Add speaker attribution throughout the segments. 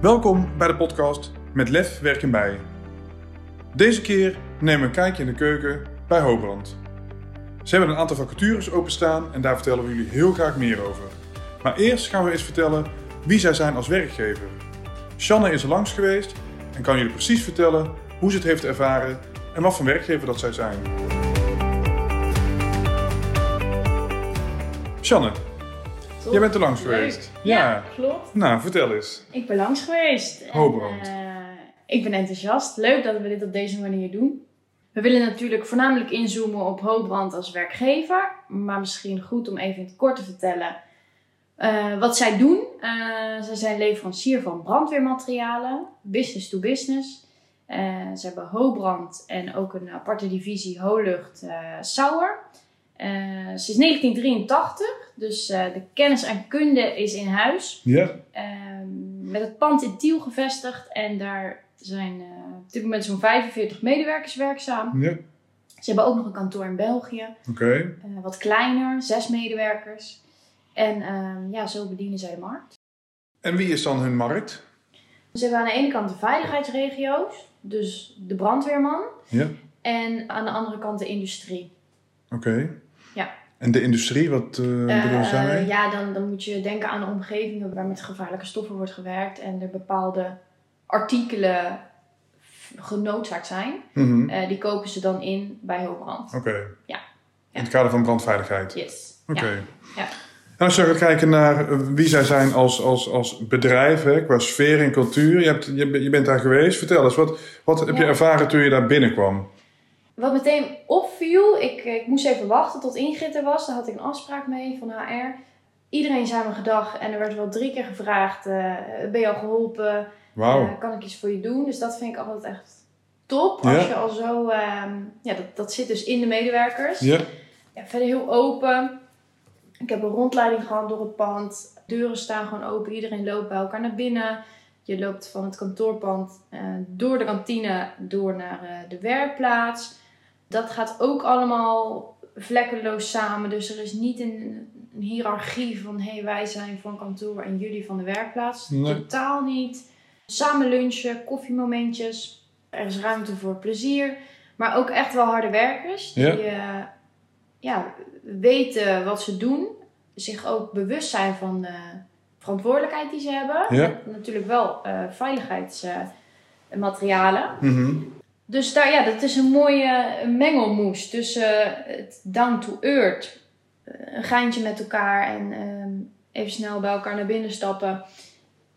Speaker 1: Welkom bij de podcast Met Lef Werken Bij. Deze keer nemen we een kijkje in de keuken bij Hoogbrand. Ze hebben een aantal vacatures openstaan en daar vertellen we jullie heel graag meer over. Maar eerst gaan we eens vertellen wie zij zijn als werkgever. Shanne is er langs geweest en kan jullie precies vertellen hoe ze het heeft ervaren en wat voor werkgever dat zij zijn. Shanne,
Speaker 2: Toch?
Speaker 1: jij bent er langs
Speaker 2: Leuk.
Speaker 1: geweest.
Speaker 2: Ja, klopt.
Speaker 1: Nou, vertel eens.
Speaker 2: Ik ben langs geweest. En,
Speaker 1: Hoogbrand.
Speaker 2: eh, ik ben enthousiast. Leuk dat we dit op deze manier doen. We willen natuurlijk voornamelijk inzoomen op Hoogbrand als werkgever. Maar misschien goed om even in het kort te vertellen eh, wat zij doen. Eh, zij zijn leverancier van brandweermaterialen, business to business. Eh, ze hebben Hoogbrand en ook een aparte divisie Hooglucht eh Sauer. Eh, sinds 1983, dus eh, de kennis en kunde is in huis
Speaker 1: Ja,
Speaker 2: ehm, met het pand in Tiel gevestigd. En daar zijn eh, op dit moment zo'n 45 medewerkers werkzaam.
Speaker 1: ja.
Speaker 2: Ze hebben ook nog een kantoor in België,
Speaker 1: oké.
Speaker 2: eh, wat kleiner, zes medewerkers. En ehm, ja, zo bedienen zij de markt.
Speaker 1: En wie is dan hun markt?
Speaker 2: Ze hebben aan de ene kant de veiligheidsregio's, dus de brandweerman.
Speaker 1: Ja.
Speaker 2: En aan de andere kant de industrie.
Speaker 1: Oké.
Speaker 2: Ja.
Speaker 1: En de industrie, wat eh bedoel je
Speaker 2: Eh,
Speaker 1: daarmee?
Speaker 2: ja, dan, dan moet je denken aan de omgevingen waar met gevaarlijke stoffen wordt gewerkt en er bepaalde artikelen f- genoodzaakt zijn.
Speaker 1: Mhm.
Speaker 2: Eh, die kopen ze dan in bij Hoogbrand.
Speaker 1: Oké.
Speaker 2: Ja.
Speaker 1: In het kader van brandveiligheid.
Speaker 2: Yes.
Speaker 1: Oké.
Speaker 2: Ja. Ja.
Speaker 1: En als je gaat kijken naar eh, wie zij zijn als, als, als bedrijf, hè, qua sfeer en cultuur. Je, hebt, je, bent- je bent daar geweest. Vertel eens, wat, wat heb je
Speaker 2: Ja.
Speaker 1: ervaren toen je daar binnenkwam?
Speaker 2: Wat meteen opviel, ik, eh, ik moest even wachten tot Ingrid er was. Daar had ik een afspraak mee van HR. Iedereen zei me gedag en er werd wel drie keer gevraagd: eh, ben je al geholpen?
Speaker 1: Wauw.
Speaker 2: Eh, kan ik iets voor je doen? Dus dat vind ik altijd echt top.
Speaker 1: Ja.
Speaker 2: Als je al zo, ehm, ja, dat, dat zit dus in de medewerkers.
Speaker 1: Ja.
Speaker 2: Ja, verder heel open. Ik heb een rondleiding gehad door het pand. Deuren staan gewoon open. Iedereen loopt bij elkaar naar binnen. Je loopt van het kantoorpand eh, door de kantine door naar eh, de werkplaats. Dat gaat ook allemaal vlekkeloos samen. Dus er is niet een, een hiërarchie van hey, wij zijn van kantoor en jullie van de werkplaats.
Speaker 1: Nee.
Speaker 2: Totaal niet. Samen lunchen, koffiemomentjes. Er is ruimte voor plezier. Maar ook echt wel harde werkers. Die,
Speaker 1: Ja.
Speaker 2: eh, ja, weten wat ze doen, zich ook bewust zijn van de verantwoordelijkheid die ze hebben.
Speaker 1: Ja.
Speaker 2: Natuurlijk wel eh, veiligheidsmaterialen.
Speaker 1: Mhm.
Speaker 2: dus daar, ja, dat is een mooie mengelmoes tussen eh, het down to earth, eh, een geintje met elkaar en ehm, even snel bij elkaar naar binnen stappen.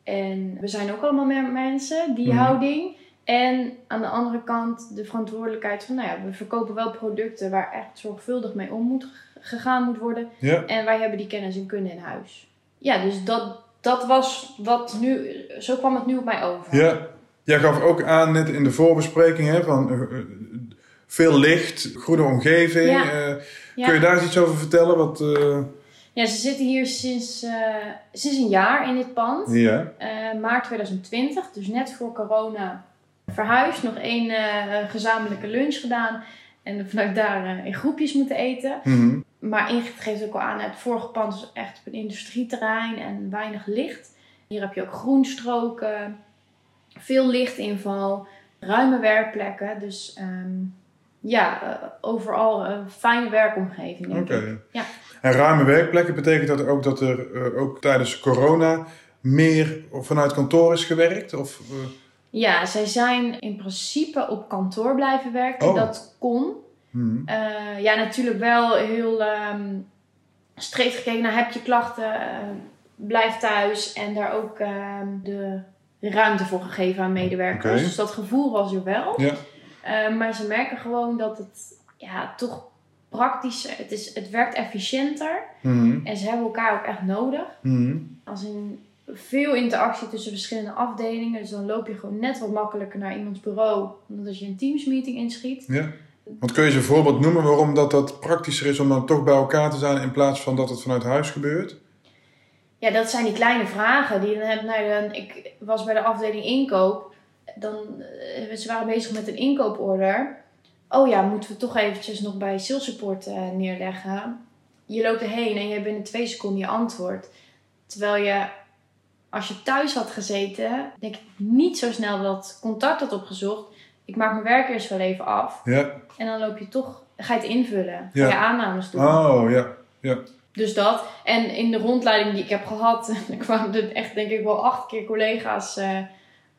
Speaker 2: En we zijn ook allemaal me- mensen, die
Speaker 1: Mhm.
Speaker 2: houding. En aan de andere kant de verantwoordelijkheid van, nou ja, we verkopen wel producten waar echt zorgvuldig mee om moet gegaan moet worden.
Speaker 1: ja.
Speaker 2: En wij hebben die kennis en kunde in huis. Ja, dus dat, dat was wat nu... Zo kwam het nu op mij over.
Speaker 1: Ja, jij gaf ook aan net in de voorbespreking hè, van eh, eh, veel licht, goede omgeving.
Speaker 2: Ja.
Speaker 1: eh,
Speaker 2: Ja.
Speaker 1: Kun je daar eens iets over vertellen? Wat, eh,
Speaker 2: Ja, ze zitten hier sinds, eh, sinds een jaar in dit pand.
Speaker 1: ja.
Speaker 2: Eh, maart 2020, dus net voor corona verhuisd. Nog één eh, gezamenlijke lunch gedaan. En vanuit daar eh, in groepjes moeten eten.
Speaker 1: Mhm.
Speaker 2: Maar Ingrid geeft ook al aan, het vorige pand is echt op een industrieterrein en weinig licht. Hier heb je ook groenstroken, veel lichtinval, ruime werkplekken. Dus ehm, ja, eh, overal een fijne werkomgeving.
Speaker 1: Oké.
Speaker 2: denk ik. Ja.
Speaker 1: En ruime werkplekken betekent dat ook dat er eh, ook tijdens corona meer vanuit kantoor is gewerkt? Of, eh,
Speaker 2: Ja, zij zijn in principe op kantoor blijven werken.
Speaker 1: Oh.
Speaker 2: Dat kon.
Speaker 1: mhm.
Speaker 2: Eh, ja, natuurlijk wel heel ehm streef gekeken naar heb je klachten, eh, blijf thuis. En daar ook ehm, de ruimte voor gegeven aan medewerkers.
Speaker 1: Oké.
Speaker 2: Dus dat gevoel was er wel.
Speaker 1: Ja.
Speaker 2: Eh, maar ze merken gewoon dat het ja, toch praktischer, het, is, het werkt efficiënter.
Speaker 1: Mhm.
Speaker 2: En ze hebben elkaar ook echt nodig.
Speaker 1: Mhm.
Speaker 2: Als in veel interactie tussen verschillende afdelingen. Dus dan loop je gewoon net wat makkelijker naar iemands bureau. Dan dat je een Teams meeting inschiet.
Speaker 1: Ja. Want kun je eens een voorbeeld noemen waarom dat, dat praktischer is om dan toch bij elkaar te zijn in plaats van dat het vanuit huis gebeurt?
Speaker 2: Ja, dat zijn die kleine vragen die je dan hebt. Nou, dan, ik was bij de afdeling inkoop. Dan, eh, ze waren bezig met een inkooporder. Oh ja, moeten we toch eventjes nog bij sales support eh, neerleggen. Je loopt erheen en je hebt binnen twee seconden je antwoord. Terwijl je als je thuis had gezeten, denk ik niet zo snel dat contact had opgezocht. Ik maak mijn werk eerst wel even af.
Speaker 1: Ja.
Speaker 2: En dan loop je toch, ga je het invullen. Ga
Speaker 1: Ja.
Speaker 2: je aannames doen.
Speaker 1: Oh, ja.
Speaker 2: Dus dat. En in de rondleiding die ik heb gehad, er kwamen er echt denk ik wel acht keer collega's. eh,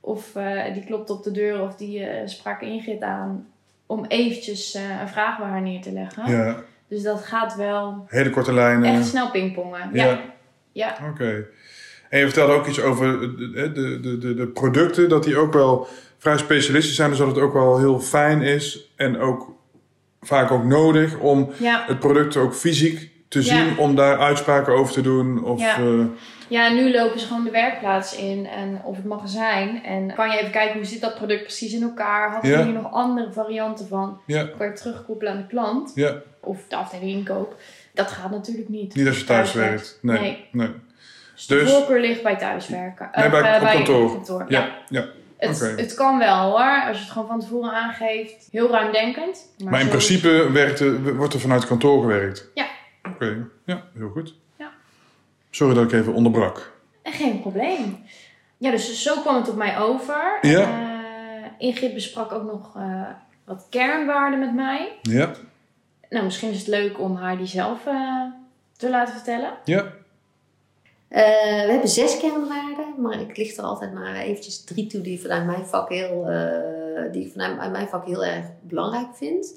Speaker 2: of eh, die klopte op de deur of die eh, sprak Ingrid aan. Om eventjes eh, een vraag bij haar neer te leggen.
Speaker 1: Ja.
Speaker 2: Dus dat gaat wel
Speaker 1: Hele korte lijnen.
Speaker 2: echt snel pingpongen.
Speaker 1: Ja.
Speaker 2: Ja.
Speaker 1: Oké. En je vertelde ook iets over eh, de, de, de, de producten, dat die ook wel vrij specialistisch zijn, dus dat het ook wel heel fijn is en ook vaak ook nodig om
Speaker 2: ja.
Speaker 1: het product ook fysiek te
Speaker 2: Ja.
Speaker 1: zien, om daar uitspraken over te doen. Of,
Speaker 2: Ja.
Speaker 1: eh,
Speaker 2: Ja, en nu lopen ze gewoon de werkplaats in en, of het magazijn. En kan je even kijken hoe zit dat product precies in elkaar? Hadden
Speaker 1: Ja.
Speaker 2: jullie nog andere varianten van?
Speaker 1: ja,
Speaker 2: Kan je terugkoppelen aan de klant
Speaker 1: ja.
Speaker 2: of de afdeling inkoop? Dat gaat natuurlijk niet.
Speaker 1: Niet als je thuis werkt. Nee.
Speaker 2: Nee.
Speaker 1: nee.
Speaker 2: Dus de
Speaker 1: Dus-
Speaker 2: voorkeur ligt bij thuiswerken.
Speaker 1: Nee,
Speaker 2: Eh,
Speaker 1: bij- op kantoor.
Speaker 2: Ja.
Speaker 1: Ja, ja.
Speaker 2: Het,
Speaker 1: oké.
Speaker 2: het kan wel hoor, als je het gewoon van tevoren aangeeft. Heel ruimdenkend.
Speaker 1: Maar in
Speaker 2: zo-
Speaker 1: principe werkt er- wordt er vanuit kantoor gewerkt.
Speaker 2: Ja.
Speaker 1: Oké, ja, heel goed.
Speaker 2: Ja.
Speaker 1: Sorry dat ik even onderbrak.
Speaker 2: Geen probleem. Ja, dus zo kwam het op mij over.
Speaker 1: Ja.
Speaker 2: Eh, Ingrid besprak ook nog eh, wat kernwaarden met mij.
Speaker 1: Ja,
Speaker 2: Nou, misschien is het leuk om haar die zelf eh, te laten vertellen.
Speaker 1: ja,
Speaker 3: Eh, we hebben zes kernwaarden, maar ik licht er altijd maar eventjes drie toe die, vanuit mijn vak heel, eh, die ik vanuit uit mijn vak heel erg belangrijk vind.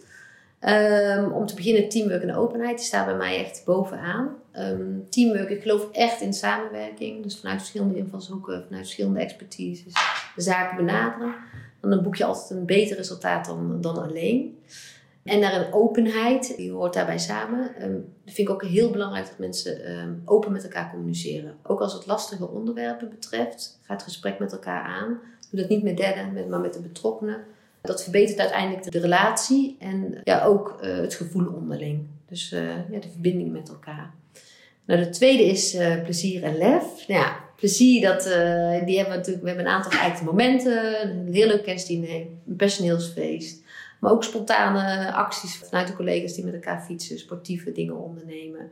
Speaker 3: Ehm, om te beginnen teamwork en openheid, die staat bij mij echt bovenaan. Ehm, teamwork, ik geloof echt in samenwerking, dus vanuit verschillende invalshoeken, vanuit verschillende expertises, de zaken benaderen. Want dan boek je altijd een beter resultaat dan, dan alleen. En naar een openheid, die hoort daarbij samen. Ehm, dat vind ik ook heel belangrijk dat mensen ehm, open met elkaar communiceren. Ook als het lastige onderwerpen betreft, ga het gesprek met elkaar aan. Doe dat niet met derden, met- maar met de betrokkenen. Dat verbetert uiteindelijk de relatie en ja, ook eh, het gevoel onderling. Dus eh, ja, de verbinding met elkaar. Nou, de tweede is eh, plezier en lef. Nou Ja, plezier, dat, eh, die hebben we natuurlijk. We hebben een aantal geëikte momenten. Een heel leuk kerstdiner, een personeelsfeest. Maar ook spontane acties vanuit de collega's die met elkaar fietsen, sportieve dingen ondernemen.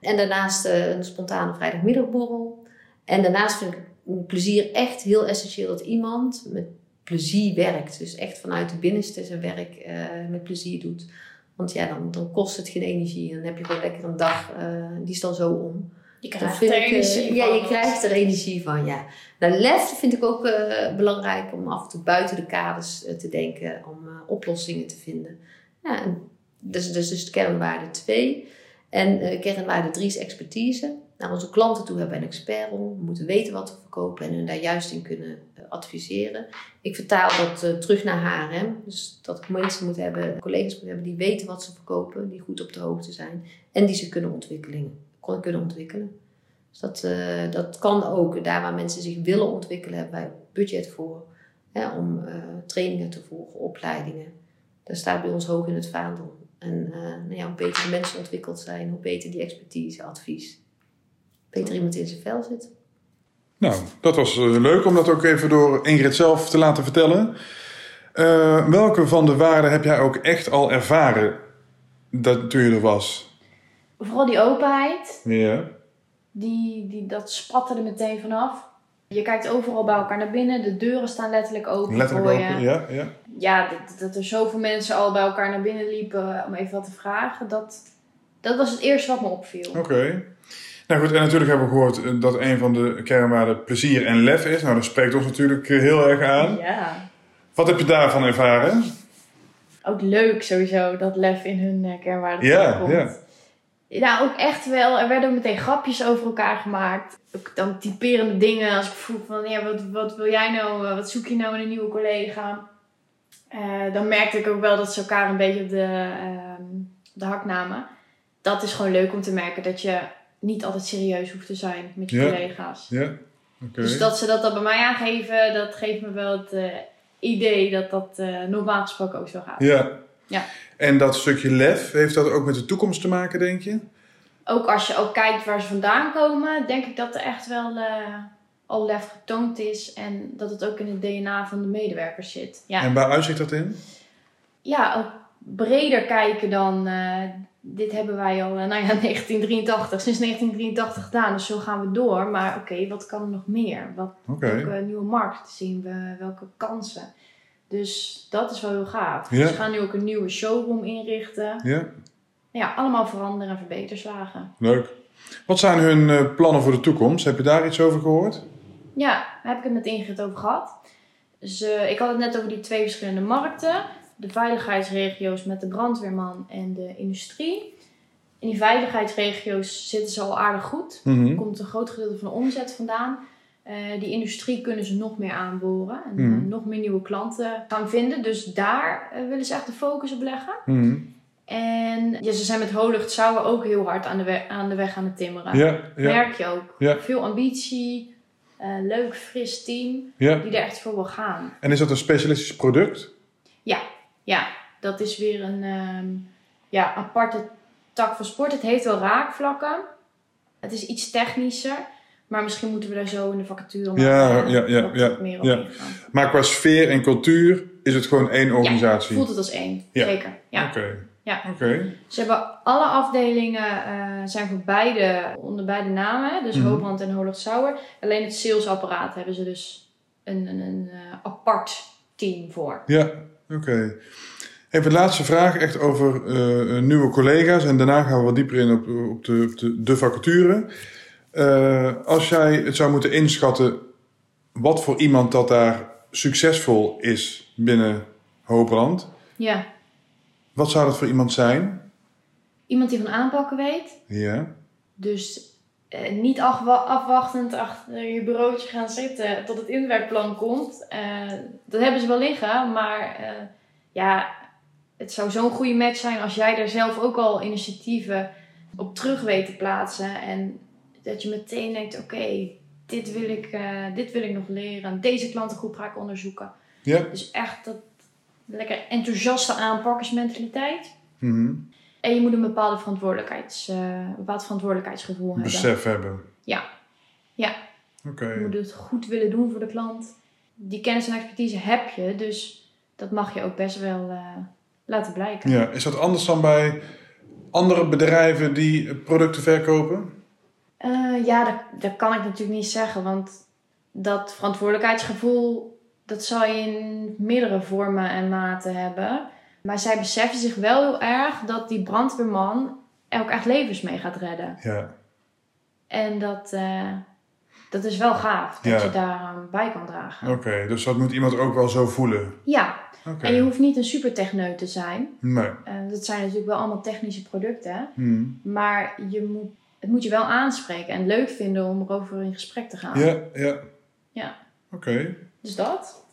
Speaker 3: En daarnaast eh, een spontane vrijdagmiddagborrel. En daarnaast vind ik plezier echt heel essentieel dat iemand met plezier werkt. Dus echt vanuit de binnenste zijn werk eh, met plezier doet. Want ja, dan, dan kost het geen energie. Dan heb je gewoon lekker een dag, eh, die is dan zo om.
Speaker 2: Je
Speaker 3: Dan
Speaker 2: krijgt
Speaker 3: vind
Speaker 2: er
Speaker 3: ik, eh,
Speaker 2: energie
Speaker 3: Ja,
Speaker 2: van.
Speaker 3: je krijgt er energie van, ja. Nou, lef vind ik ook eh, belangrijk om af en toe buiten de kaders eh, te denken, om eh, oplossingen te vinden. Ja, en dus, dus, dus de kernwaarde 2. En eh, kernwaarde 3 is expertise. Naar onze klanten toe hebben we een expert om. We moeten weten wat we verkopen en hen daar juist in kunnen eh, adviseren. Ik vertaal dat eh, terug naar HRM. Dus dat ik mensen moet hebben, collega's moet hebben die weten wat ze verkopen, die goed op de hoogte zijn en die ze kunnen ontwikkelen. kon- Kunnen ontwikkelen. Dus dat, eh, dat kan ook daar waar mensen zich willen ontwikkelen, hebben wij budget voor. Hè, om eh, trainingen te volgen, opleidingen. Dat staat bij ons hoog in het vaandel. En eh, nou ja, hoe beter de mensen ontwikkeld zijn, hoe beter die expertise, advies. Beter iemand in zijn vel zit.
Speaker 1: Nou, dat was eh, leuk om dat ook even door Ingrid zelf te laten vertellen. Eh, welke van de waarden heb jij ook echt al ervaren dat toen je er was?
Speaker 2: Vooral die openheid,
Speaker 1: Ja.
Speaker 2: die, die, dat spatte er meteen vanaf. Je kijkt overal bij elkaar naar binnen. De deuren staan letterlijk open
Speaker 1: Letterlijk
Speaker 2: voor
Speaker 1: ook.
Speaker 2: je.
Speaker 1: Ja, ja.
Speaker 2: Oh, ja, dat, dat er zoveel mensen al bij elkaar naar binnen liepen om even wat te vragen, dat, dat was het eerste wat me opviel.
Speaker 1: Oké. Nou goed, en natuurlijk hebben we gehoord eh, dat een van de kernwaarden plezier en lef is. Nou, dat spreekt ons natuurlijk eh, heel erg aan.
Speaker 2: Ja.
Speaker 1: Wat heb je daarvan ervaren?
Speaker 2: Ook leuk sowieso dat lef in hun eh, kernwaarden
Speaker 1: Ja,
Speaker 2: terugkomt.
Speaker 1: ja.
Speaker 2: Ja, ook echt wel. Er werden ook meteen grapjes over elkaar gemaakt. Ook dan typerende dingen. Als ik vroeg van, ja, wat, wat wil jij nou? eh, Wat zoek je nou in een nieuwe collega? Eh, dan merkte ik ook wel dat ze elkaar een beetje op de, ehm, op de hak namen. Dat is gewoon leuk om te merken. Dat je niet altijd serieus hoeft te zijn met je
Speaker 1: Ja.
Speaker 2: collega's.
Speaker 1: Ja. Oké.
Speaker 2: Dus dat ze dat dan bij mij aangeven, dat geeft me wel het eh, idee dat dat eh, normaal gesproken ook zo gaat.
Speaker 1: Ja.
Speaker 2: Ja.
Speaker 1: En dat stukje lef, heeft dat ook met de toekomst te maken, denk je?
Speaker 2: ook als je ook kijkt waar ze vandaan komen, denk ik dat er echt wel eh, al lef getoond is en dat het ook in het DNA van de medewerkers zit. Ja,
Speaker 1: En waar uitzicht dat in?
Speaker 2: ja ook breder kijken dan eh, dit hebben wij al, eh, nou ja, 1983, sinds 1983 gedaan, dus zo gaan we door. Maar oké, wat kan er nog meer? Wat,
Speaker 1: Oké.
Speaker 2: welke nieuwe markt zien we? Welke kansen? Dus dat is wel heel gaaf.
Speaker 1: Ja.
Speaker 2: Dus we gaan nu ook een nieuwe showroom inrichten.
Speaker 1: Ja,
Speaker 2: Ja, allemaal veranderen en verbeterslagen.
Speaker 1: leuk. Wat zijn hun eh, plannen voor de toekomst? Heb je daar iets over gehoord?
Speaker 2: Ja, daar heb ik het met Ingrid over gehad. Dus, eh, ik had het net over die twee verschillende markten. De veiligheidsregio's met de brandweerman en de industrie. In die veiligheidsregio's zitten ze al aardig goed.
Speaker 1: Mhm.
Speaker 2: Er komt een groot gedeelte van de omzet vandaan. Eh, die industrie kunnen ze nog meer aanboren. En
Speaker 1: Mhm.
Speaker 2: eh, nog meer nieuwe klanten gaan vinden. Dus daar eh, willen ze echt de focus op leggen.
Speaker 1: Mhm.
Speaker 2: En ja, ze zijn met Holucht Sauer ook heel hard aan de, we- aan de weg aan het timmeren
Speaker 1: Ja, ja,
Speaker 2: merk je ook.
Speaker 1: Ja.
Speaker 2: Veel ambitie, eh, leuk, fris team
Speaker 1: ja.
Speaker 2: die er echt voor wil gaan.
Speaker 1: En is dat een specialistisch product?
Speaker 2: Ja, dat is weer een ehm, ja, aparte tak van sport. Het heeft wel raakvlakken. Het is iets technischer. Maar misschien moeten we daar zo in de vacature maar,
Speaker 1: Ja,
Speaker 2: eh,
Speaker 1: ja, ja,
Speaker 2: wat
Speaker 1: ja,
Speaker 2: meer op
Speaker 1: ja.
Speaker 2: ingaan.
Speaker 1: Maar qua sfeer en cultuur is het gewoon één organisatie.
Speaker 2: Voelt het als één,
Speaker 1: Ja.
Speaker 2: zeker. Ja.
Speaker 1: Oké.
Speaker 2: Ja.
Speaker 1: Oké.
Speaker 2: Ze hebben alle afdelingen eh, zijn voor beide onder beide namen, hè, dus
Speaker 1: Mhm.
Speaker 2: Hoogbrand en Holland Sauer. Alleen het salesapparaat hebben ze dus een, een, een eh, apart team voor.
Speaker 1: Ja, oké. Even de laatste vraag, echt over eh, nieuwe collega's. En daarna gaan we wat dieper in op, op, de, op de, de vacature. Eh, als jij het zou moeten inschatten, wat voor iemand dat daar succesvol is binnen Hoogbrand.
Speaker 2: Ja.
Speaker 1: Wat zou dat voor iemand zijn?
Speaker 2: Iemand die van aanpakken weet.
Speaker 1: Ja,
Speaker 2: Dus eh, niet afwa- afwachtend achter je bureautje gaan zitten tot het inwerkplan komt. Eh, dat hebben ze wel liggen, maar eh, ja, het zou zo'n goede match zijn als jij daar zelf ook al initiatieven op terug weet te plaatsen. En dat je meteen denkt, oké, dit, wil ik, eh, dit wil ik nog leren. Deze klantengroep ga ik onderzoeken.
Speaker 1: ja.
Speaker 2: Dus echt dat lekker enthousiaste aanpakkersmentaliteit.
Speaker 1: Mhm.
Speaker 2: En je moet een bepaalde verantwoordelijkheids, eh, een bepaald verantwoordelijkheidsgevoel hebben.
Speaker 1: Besef hebben.
Speaker 2: Ja. Ja.
Speaker 1: Oké.
Speaker 2: Je moet het goed willen doen voor de klant. Die kennis en expertise heb je, dus dat mag je ook best wel eh, laten blijken.
Speaker 1: Ja, is dat anders dan bij andere bedrijven die producten verkopen?
Speaker 2: Eh, ja, dat, dat kan ik natuurlijk niet zeggen, want dat verantwoordelijkheidsgevoel, dat zal je in meerdere vormen en maten hebben. Maar zij beseffen zich wel heel erg dat die brandweerman er ook echt levens mee gaat redden.
Speaker 1: Ja.
Speaker 2: En dat, eh, dat is wel gaaf dat
Speaker 1: Ja.
Speaker 2: je daar aan bij kan dragen.
Speaker 1: Oké, dus dat moet iemand ook wel zo voelen.
Speaker 2: Ja,
Speaker 1: Oké.
Speaker 2: en je hoeft niet een supertechneut te zijn.
Speaker 1: Nee.
Speaker 2: Eh, dat zijn natuurlijk wel allemaal technische producten.
Speaker 1: Hm.
Speaker 2: Maar je moet, het moet je wel aanspreken en leuk vinden om erover in gesprek te gaan.
Speaker 1: Ja, ja.
Speaker 2: Ja.
Speaker 1: Oké.
Speaker 2: Dus dat?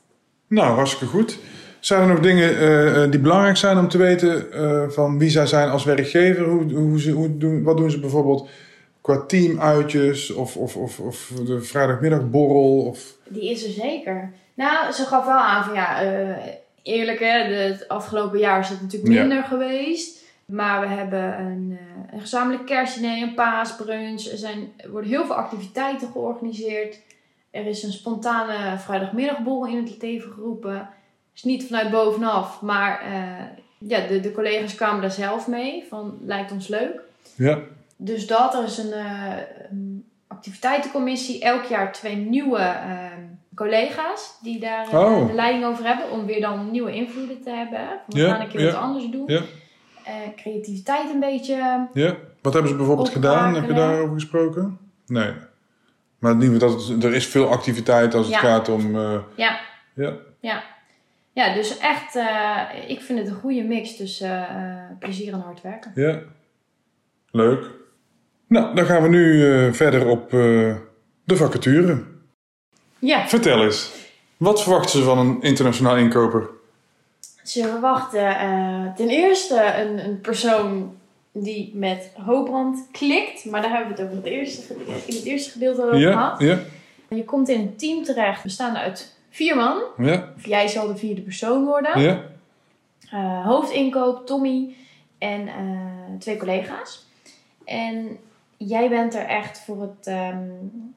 Speaker 1: Nou, hartstikke goed. Zijn er nog dingen eh, eh, die belangrijk zijn om te weten eh, van wie zij zijn als werkgever? Hoe, hoe ze, hoe doen, wat doen ze bijvoorbeeld qua teamuitjes of, of, of, of de vrijdagmiddagborrel? Of...
Speaker 2: Die is er zeker. Nou, ze gaf wel aan van ja, eh, eerlijk hè, de, het afgelopen jaar is dat natuurlijk
Speaker 1: Ja.
Speaker 2: minder geweest. Maar we hebben een, eh, een gezamenlijk kerstdiner, een paasbrunch. Er, zijn, er worden heel veel activiteiten georganiseerd. Er is een spontane vrijdagmiddagborrel in het leven geroepen. is niet vanuit bovenaf, maar eh, ja, de, de collega's kwamen daar zelf mee. Van lijkt ons leuk.
Speaker 1: Ja.
Speaker 2: Dus dat, er is een eh, een activiteitencommissie. Elk jaar twee nieuwe eh, collega's die daar eh,
Speaker 1: Oh.
Speaker 2: de leiding over hebben. Om weer dan nieuwe invloeden te hebben. hè. Van, we
Speaker 1: Ja,
Speaker 2: gaan een keer
Speaker 1: ja,
Speaker 2: wat anders doen.
Speaker 1: ja.
Speaker 2: Eh, creativiteit een beetje.
Speaker 1: Ja, wat hebben ze bijvoorbeeld
Speaker 2: Oprakelen.
Speaker 1: gedaan? Heb je daarover gesproken? Nee. Maar in ieder geval, dat het- er is veel activiteit als het
Speaker 2: Ja.
Speaker 1: gaat om... eh,
Speaker 2: Ja.
Speaker 1: Ja.
Speaker 2: ja. Ja, dus echt, eh, ik vind het een goede mix tussen eh, plezier en hard werken.
Speaker 1: ja. Leuk. Nou, dan gaan we nu eh, verder op eh, de vacature.
Speaker 2: Ja,
Speaker 1: Vertel eens. Wat verwachten ze van een internationaal inkoper?
Speaker 2: Ze verwachten eh, ten eerste een, een persoon die met Hoogbrand klikt. Maar daar hebben we het over het eerste, gede- in het eerste gedeelte al over
Speaker 1: Ja,
Speaker 2: gehad.
Speaker 1: ja,
Speaker 2: Je komt in een team terecht bestaande uit vier man.
Speaker 1: ja,
Speaker 2: Of jij zal de vierde persoon worden.
Speaker 1: ja.
Speaker 2: Eh, hoofdinkoop, Tommy en eh, twee collega's. En jij bent er echt voor het, ehm,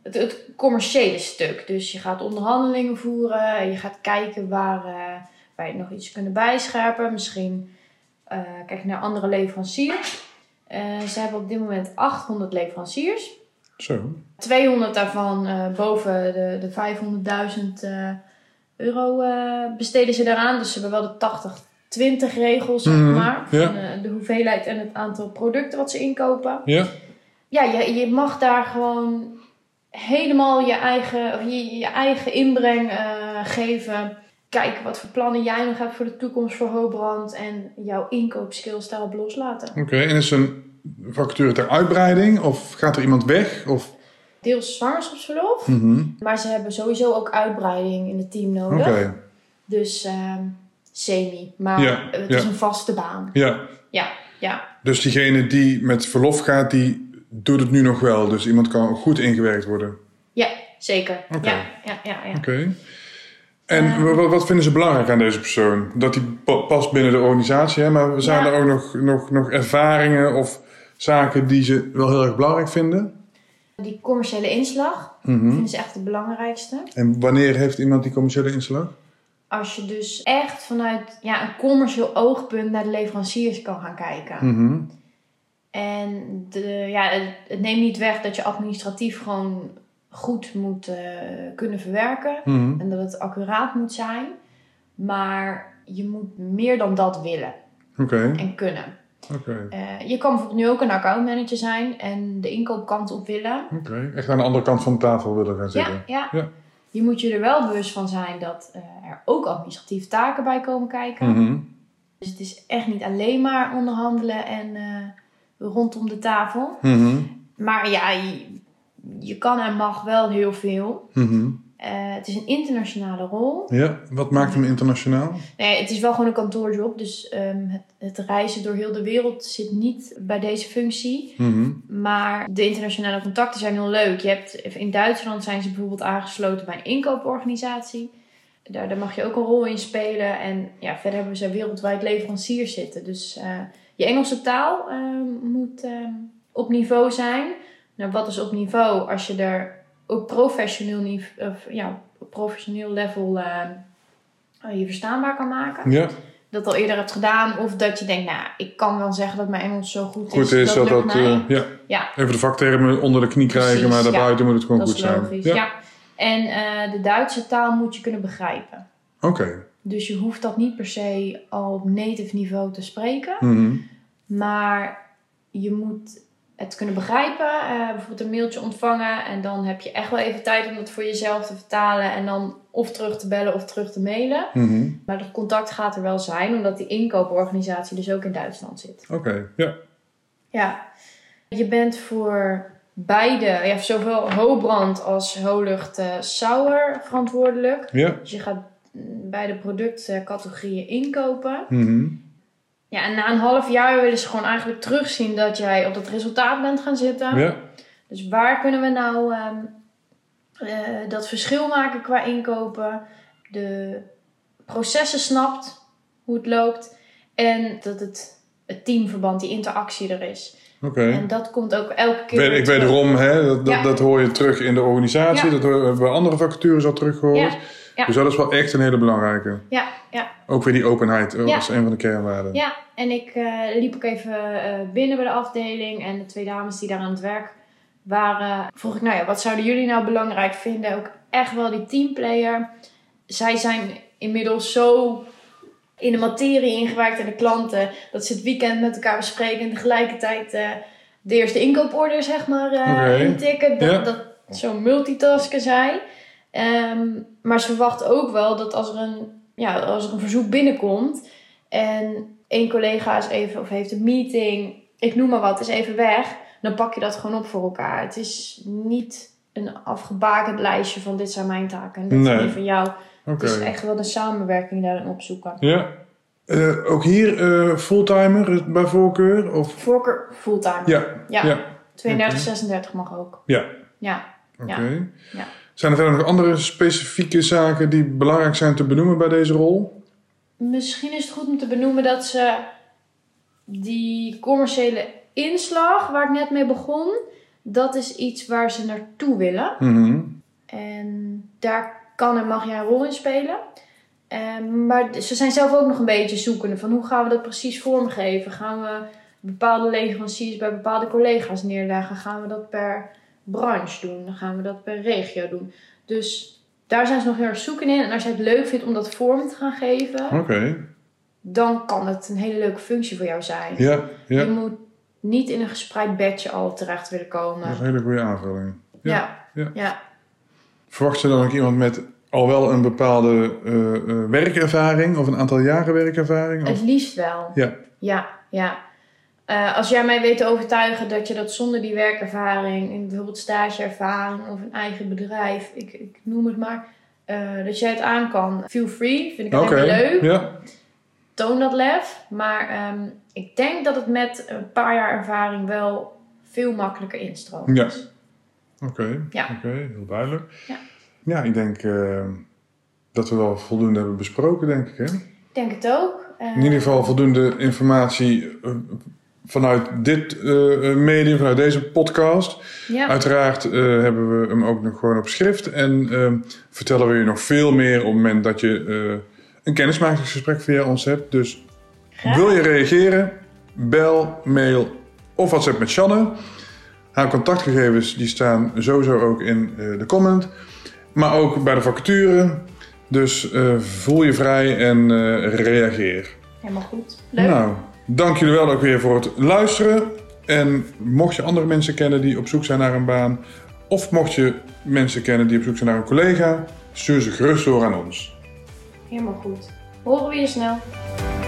Speaker 2: het, het commerciële stuk. Dus je gaat onderhandelingen voeren. Je gaat kijken waar, eh, waar je nog iets kunnen bijscherpen. Misschien eh, kijk je naar andere leveranciers. Eh, ze hebben op dit moment 800 leveranciers.
Speaker 1: Zo.
Speaker 2: 200 daarvan eh, boven de, de 500.000 eh, euro eh, besteden ze daaraan. Dus ze hebben wel de 80-20 regel, zeg
Speaker 1: Mhm,
Speaker 2: maar.
Speaker 1: ja.
Speaker 2: Van, eh, de hoeveelheid en het aantal producten wat ze inkopen.
Speaker 1: Ja?
Speaker 2: Ja, je, je mag daar gewoon helemaal je eigen, of je, je eigen inbreng eh, geven. Kijken wat voor plannen jij nog hebt voor de toekomst voor Hobrand. En jouw inkoopskills daarop loslaten.
Speaker 1: Oké, en is een vacature ter uitbreiding? Of gaat er iemand weg? Of...
Speaker 2: Deels zwangerschapsverlof.
Speaker 1: Mhm.
Speaker 2: Maar ze hebben sowieso ook uitbreiding in het team
Speaker 1: Oké,
Speaker 2: nodig. Dus ehm, semi. Maar
Speaker 1: Ja,
Speaker 2: het
Speaker 1: ja.
Speaker 2: is een vaste baan.
Speaker 1: ja.
Speaker 2: Ja, ja.
Speaker 1: Dus diegene die met verlof gaat, die doet het nu nog wel. Dus iemand kan goed ingewerkt worden.
Speaker 2: Ja, zeker.
Speaker 1: Oké.
Speaker 2: Ja, ja, ja, ja.
Speaker 1: Oké. En wa- wa- wat vinden ze belangrijk aan deze persoon? Dat die pa- past binnen de organisatie, hè? maar we zijn
Speaker 2: Ja.
Speaker 1: er ook nog, nog, nog ervaringen of zaken die ze wel heel erg belangrijk vinden.
Speaker 2: Die commerciële inslag
Speaker 1: Mhm.
Speaker 2: vinden ze echt het belangrijkste.
Speaker 1: En wanneer heeft iemand die commerciële inslag?
Speaker 2: Als je dus echt vanuit ja, een commercieel oogpunt naar de leveranciers kan gaan kijken.
Speaker 1: Mhm.
Speaker 2: En de, ja, het, het neemt niet weg dat je administratief gewoon goed moet eh, kunnen verwerken.
Speaker 1: Mhm.
Speaker 2: En dat het accuraat moet zijn. Maar je moet meer dan dat willen
Speaker 1: Oké,
Speaker 2: en kunnen.
Speaker 1: oké,
Speaker 2: Eh, je kan bijvoorbeeld nu ook een accountmanager zijn en de inkoopkant op willen.
Speaker 1: oké. Echt aan de andere kant van de tafel willen gaan
Speaker 2: Ja,
Speaker 1: zitten.
Speaker 2: ja.
Speaker 1: Ja.
Speaker 2: Je moet je er wel bewust van zijn dat eh, er ook administratieve taken bij komen kijken.
Speaker 1: Mhm.
Speaker 2: Dus het is echt niet alleen maar onderhandelen en eh, rondom de tafel.
Speaker 1: Mhm.
Speaker 2: Maar ja, je, je kan en mag wel heel veel.
Speaker 1: Mhm.
Speaker 2: Eh, het is een internationale rol.
Speaker 1: Ja, wat maakt hem internationaal?
Speaker 2: Nee, het is wel gewoon een kantoorjob. Dus ehm, het, het reizen door heel de wereld zit niet bij deze functie.
Speaker 1: Mhm.
Speaker 2: Maar de internationale contacten zijn heel leuk. Je hebt, in Duitsland zijn ze bijvoorbeeld aangesloten bij een inkooporganisatie. Daar, daar mag je ook een rol in spelen. En ja, verder hebben ze wereldwijd leveranciers zitten. Dus eh, je Engelse taal ehm, moet ehm, op niveau zijn. Nou, wat is op niveau als je er op professioneel, nive- of, ja, op professioneel level ehm, je verstaanbaar kan maken?
Speaker 1: Ja,
Speaker 2: Dat al eerder hebt gedaan. Of dat je denkt, nou, ik kan wel zeggen dat mijn Engels zo goed is.
Speaker 1: goed is dat
Speaker 2: lukt
Speaker 1: dat.
Speaker 2: mij.
Speaker 1: eh, ja.
Speaker 2: Ja.
Speaker 1: Even de vaktermen onder de knie krijgen,
Speaker 2: Precies,
Speaker 1: maar
Speaker 2: ja.
Speaker 1: daarbuiten moet het gewoon
Speaker 2: Dat
Speaker 1: goed
Speaker 2: is
Speaker 1: zijn.
Speaker 2: logisch,
Speaker 1: ja.
Speaker 2: ja. En eh, de Duitse taal moet je kunnen begrijpen.
Speaker 1: Oké.
Speaker 2: Dus je hoeft dat niet per se al op native niveau te spreken.
Speaker 1: Mhm.
Speaker 2: Maar je moet het kunnen begrijpen. eh, bijvoorbeeld een mailtje ontvangen. En dan heb je echt wel even tijd om dat voor jezelf te vertalen. En dan of terug te bellen of terug te mailen.
Speaker 1: Mhm.
Speaker 2: Maar dat contact gaat er wel zijn. Omdat die inkooporganisatie dus ook in Duitsland zit.
Speaker 1: Oké, ja.
Speaker 2: Ja, je bent voor beide, ja, zowel Hobrand als Holucht eh Sauer verantwoordelijk.
Speaker 1: Ja.
Speaker 2: Dus je gaat mm, beide productcategorieën inkopen.
Speaker 1: Mhm.
Speaker 2: Ja, en na een half jaar willen ze gewoon eigenlijk terugzien dat jij op dat resultaat bent gaan zitten.
Speaker 1: Ja.
Speaker 2: Dus waar kunnen we nou ehm, eh, dat verschil maken qua inkopen? De processen snapt, hoe het loopt. En dat het, het teamverband, die interactie er is.
Speaker 1: Oké.
Speaker 2: En dat komt ook elke keer.
Speaker 1: weet
Speaker 2: weer
Speaker 1: Ik
Speaker 2: terug.
Speaker 1: wederom, hè, dat, dat,
Speaker 2: Ja.
Speaker 1: dat hoor je terug in de organisatie.
Speaker 2: Ja.
Speaker 1: Dat hoor- hebben we andere vacatures al teruggehoord.
Speaker 2: Ja, ja.
Speaker 1: Dus dat is wel echt een hele belangrijke.
Speaker 2: Ja, ja,
Speaker 1: Ook weer die openheid eh,
Speaker 2: Ja.
Speaker 1: als een van de kernwaarden.
Speaker 2: ja. En ik eh, liep ook even eh, binnen bij de afdeling. En de twee dames die daar aan het werk waren, vroeg ik, nou ja, wat zouden jullie nou belangrijk vinden? Ook echt wel die teamplayer. Zij zijn inmiddels zo in de materie ingewerkt en de klanten, dat ze het weekend met elkaar bespreken en tegelijkertijd eh, de eerste inkooporder, zeg maar, eh,
Speaker 1: Oké.
Speaker 2: intikken. Dat,
Speaker 1: Ja.
Speaker 2: dat zo'n multitasken zijn. Ehm, maar ze verwacht ook wel dat als er een, ja, als er een verzoek binnenkomt en één collega is even of heeft een meeting, ik noem maar wat, is even weg, dan pak je dat gewoon op voor elkaar. Het is niet een afgebakend lijstje van dit zijn mijn taken en dit zijn
Speaker 1: Nee.
Speaker 2: die van jou.
Speaker 1: Oké.
Speaker 2: Het is dus echt wel de samenwerking daarin opzoeken.
Speaker 1: Ja. Eh, ook hier eh, fulltimer eh, bij voorkeur? Of?
Speaker 2: Voorkeur fulltime.
Speaker 1: Ja.
Speaker 2: Ja.
Speaker 1: Ja.
Speaker 2: 32, 36 mag ook.
Speaker 1: Ja.
Speaker 2: Ja.
Speaker 1: Oké.
Speaker 2: Ja.
Speaker 1: Zijn er verder nog andere specifieke zaken die belangrijk zijn te benoemen bij deze rol?
Speaker 2: Misschien is het goed om te benoemen dat ze die commerciële inslag waar ik net mee begon, dat is iets waar ze naartoe willen.
Speaker 1: Mhm.
Speaker 2: En daar kan en mag jij een rol in spelen. Ehm, maar ze zijn zelf ook nog een beetje zoekende van hoe gaan we dat precies vormgeven? Gaan we bepaalde leveranciers bij bepaalde collega's neerleggen? Gaan we dat per branche doen? Gaan we dat per regio doen? Dus daar zijn ze nog heel erg zoeken in. En als jij het leuk vindt om dat vorm te gaan geven,
Speaker 1: Oké,
Speaker 2: dan kan het een hele leuke functie voor jou zijn.
Speaker 1: ja, ja.
Speaker 2: Je moet niet in een gespreid bedje al terecht willen komen.
Speaker 1: Dat is een hele goede aanvulling.
Speaker 2: Ja.
Speaker 1: ja.
Speaker 2: Ja.
Speaker 1: Verwacht ze dan ook iemand met al wel een bepaalde eh, eh, werkervaring of een aantal jaren werkervaring? Of...
Speaker 2: het liefst wel.
Speaker 1: Ja.
Speaker 2: Ja, ja. Eh, als jij mij weet te overtuigen dat je dat zonder die werkervaring, in bijvoorbeeld stageervaring of een eigen bedrijf, ik, ik noem het maar, eh, dat jij het aan kan. Feel free, vind ik het
Speaker 1: Oké,
Speaker 2: helemaal leuk.
Speaker 1: ja.
Speaker 2: Toon dat lef. Maar ehm, ik denk dat het met een paar jaar ervaring wel veel makkelijker instroomt.
Speaker 1: Ja. Oké,
Speaker 2: Ja.
Speaker 1: oké, heel duidelijk.
Speaker 2: Ja.
Speaker 1: Ja, ik denk eh, dat we wel voldoende hebben besproken, denk ik. Hè?
Speaker 2: Ik denk het ook. Eh,
Speaker 1: In ieder geval voldoende informatie eh, vanuit dit eh, medium, vanuit deze podcast.
Speaker 2: Ja.
Speaker 1: Uiteraard eh, hebben we hem ook nog gewoon op schrift. En eh, vertellen we je nog veel meer op het moment dat je eh, een kennismakingsgesprek via ons hebt. Dus
Speaker 2: Graag.
Speaker 1: wil je reageren? Bel, mail of WhatsApp met Shanne. Haar contactgegevens die staan sowieso ook in eh, de comment. Maar ook bij de vacature. Dus eh, voel je vrij en eh, reageer.
Speaker 2: Helemaal goed. Leuk.
Speaker 1: Nou, dank jullie wel ook weer voor het luisteren. En mocht je andere mensen kennen die op zoek zijn naar een baan, of mocht je mensen kennen die op zoek zijn naar een collega, stuur ze gerust door aan ons.
Speaker 2: Helemaal goed. Horen we je snel.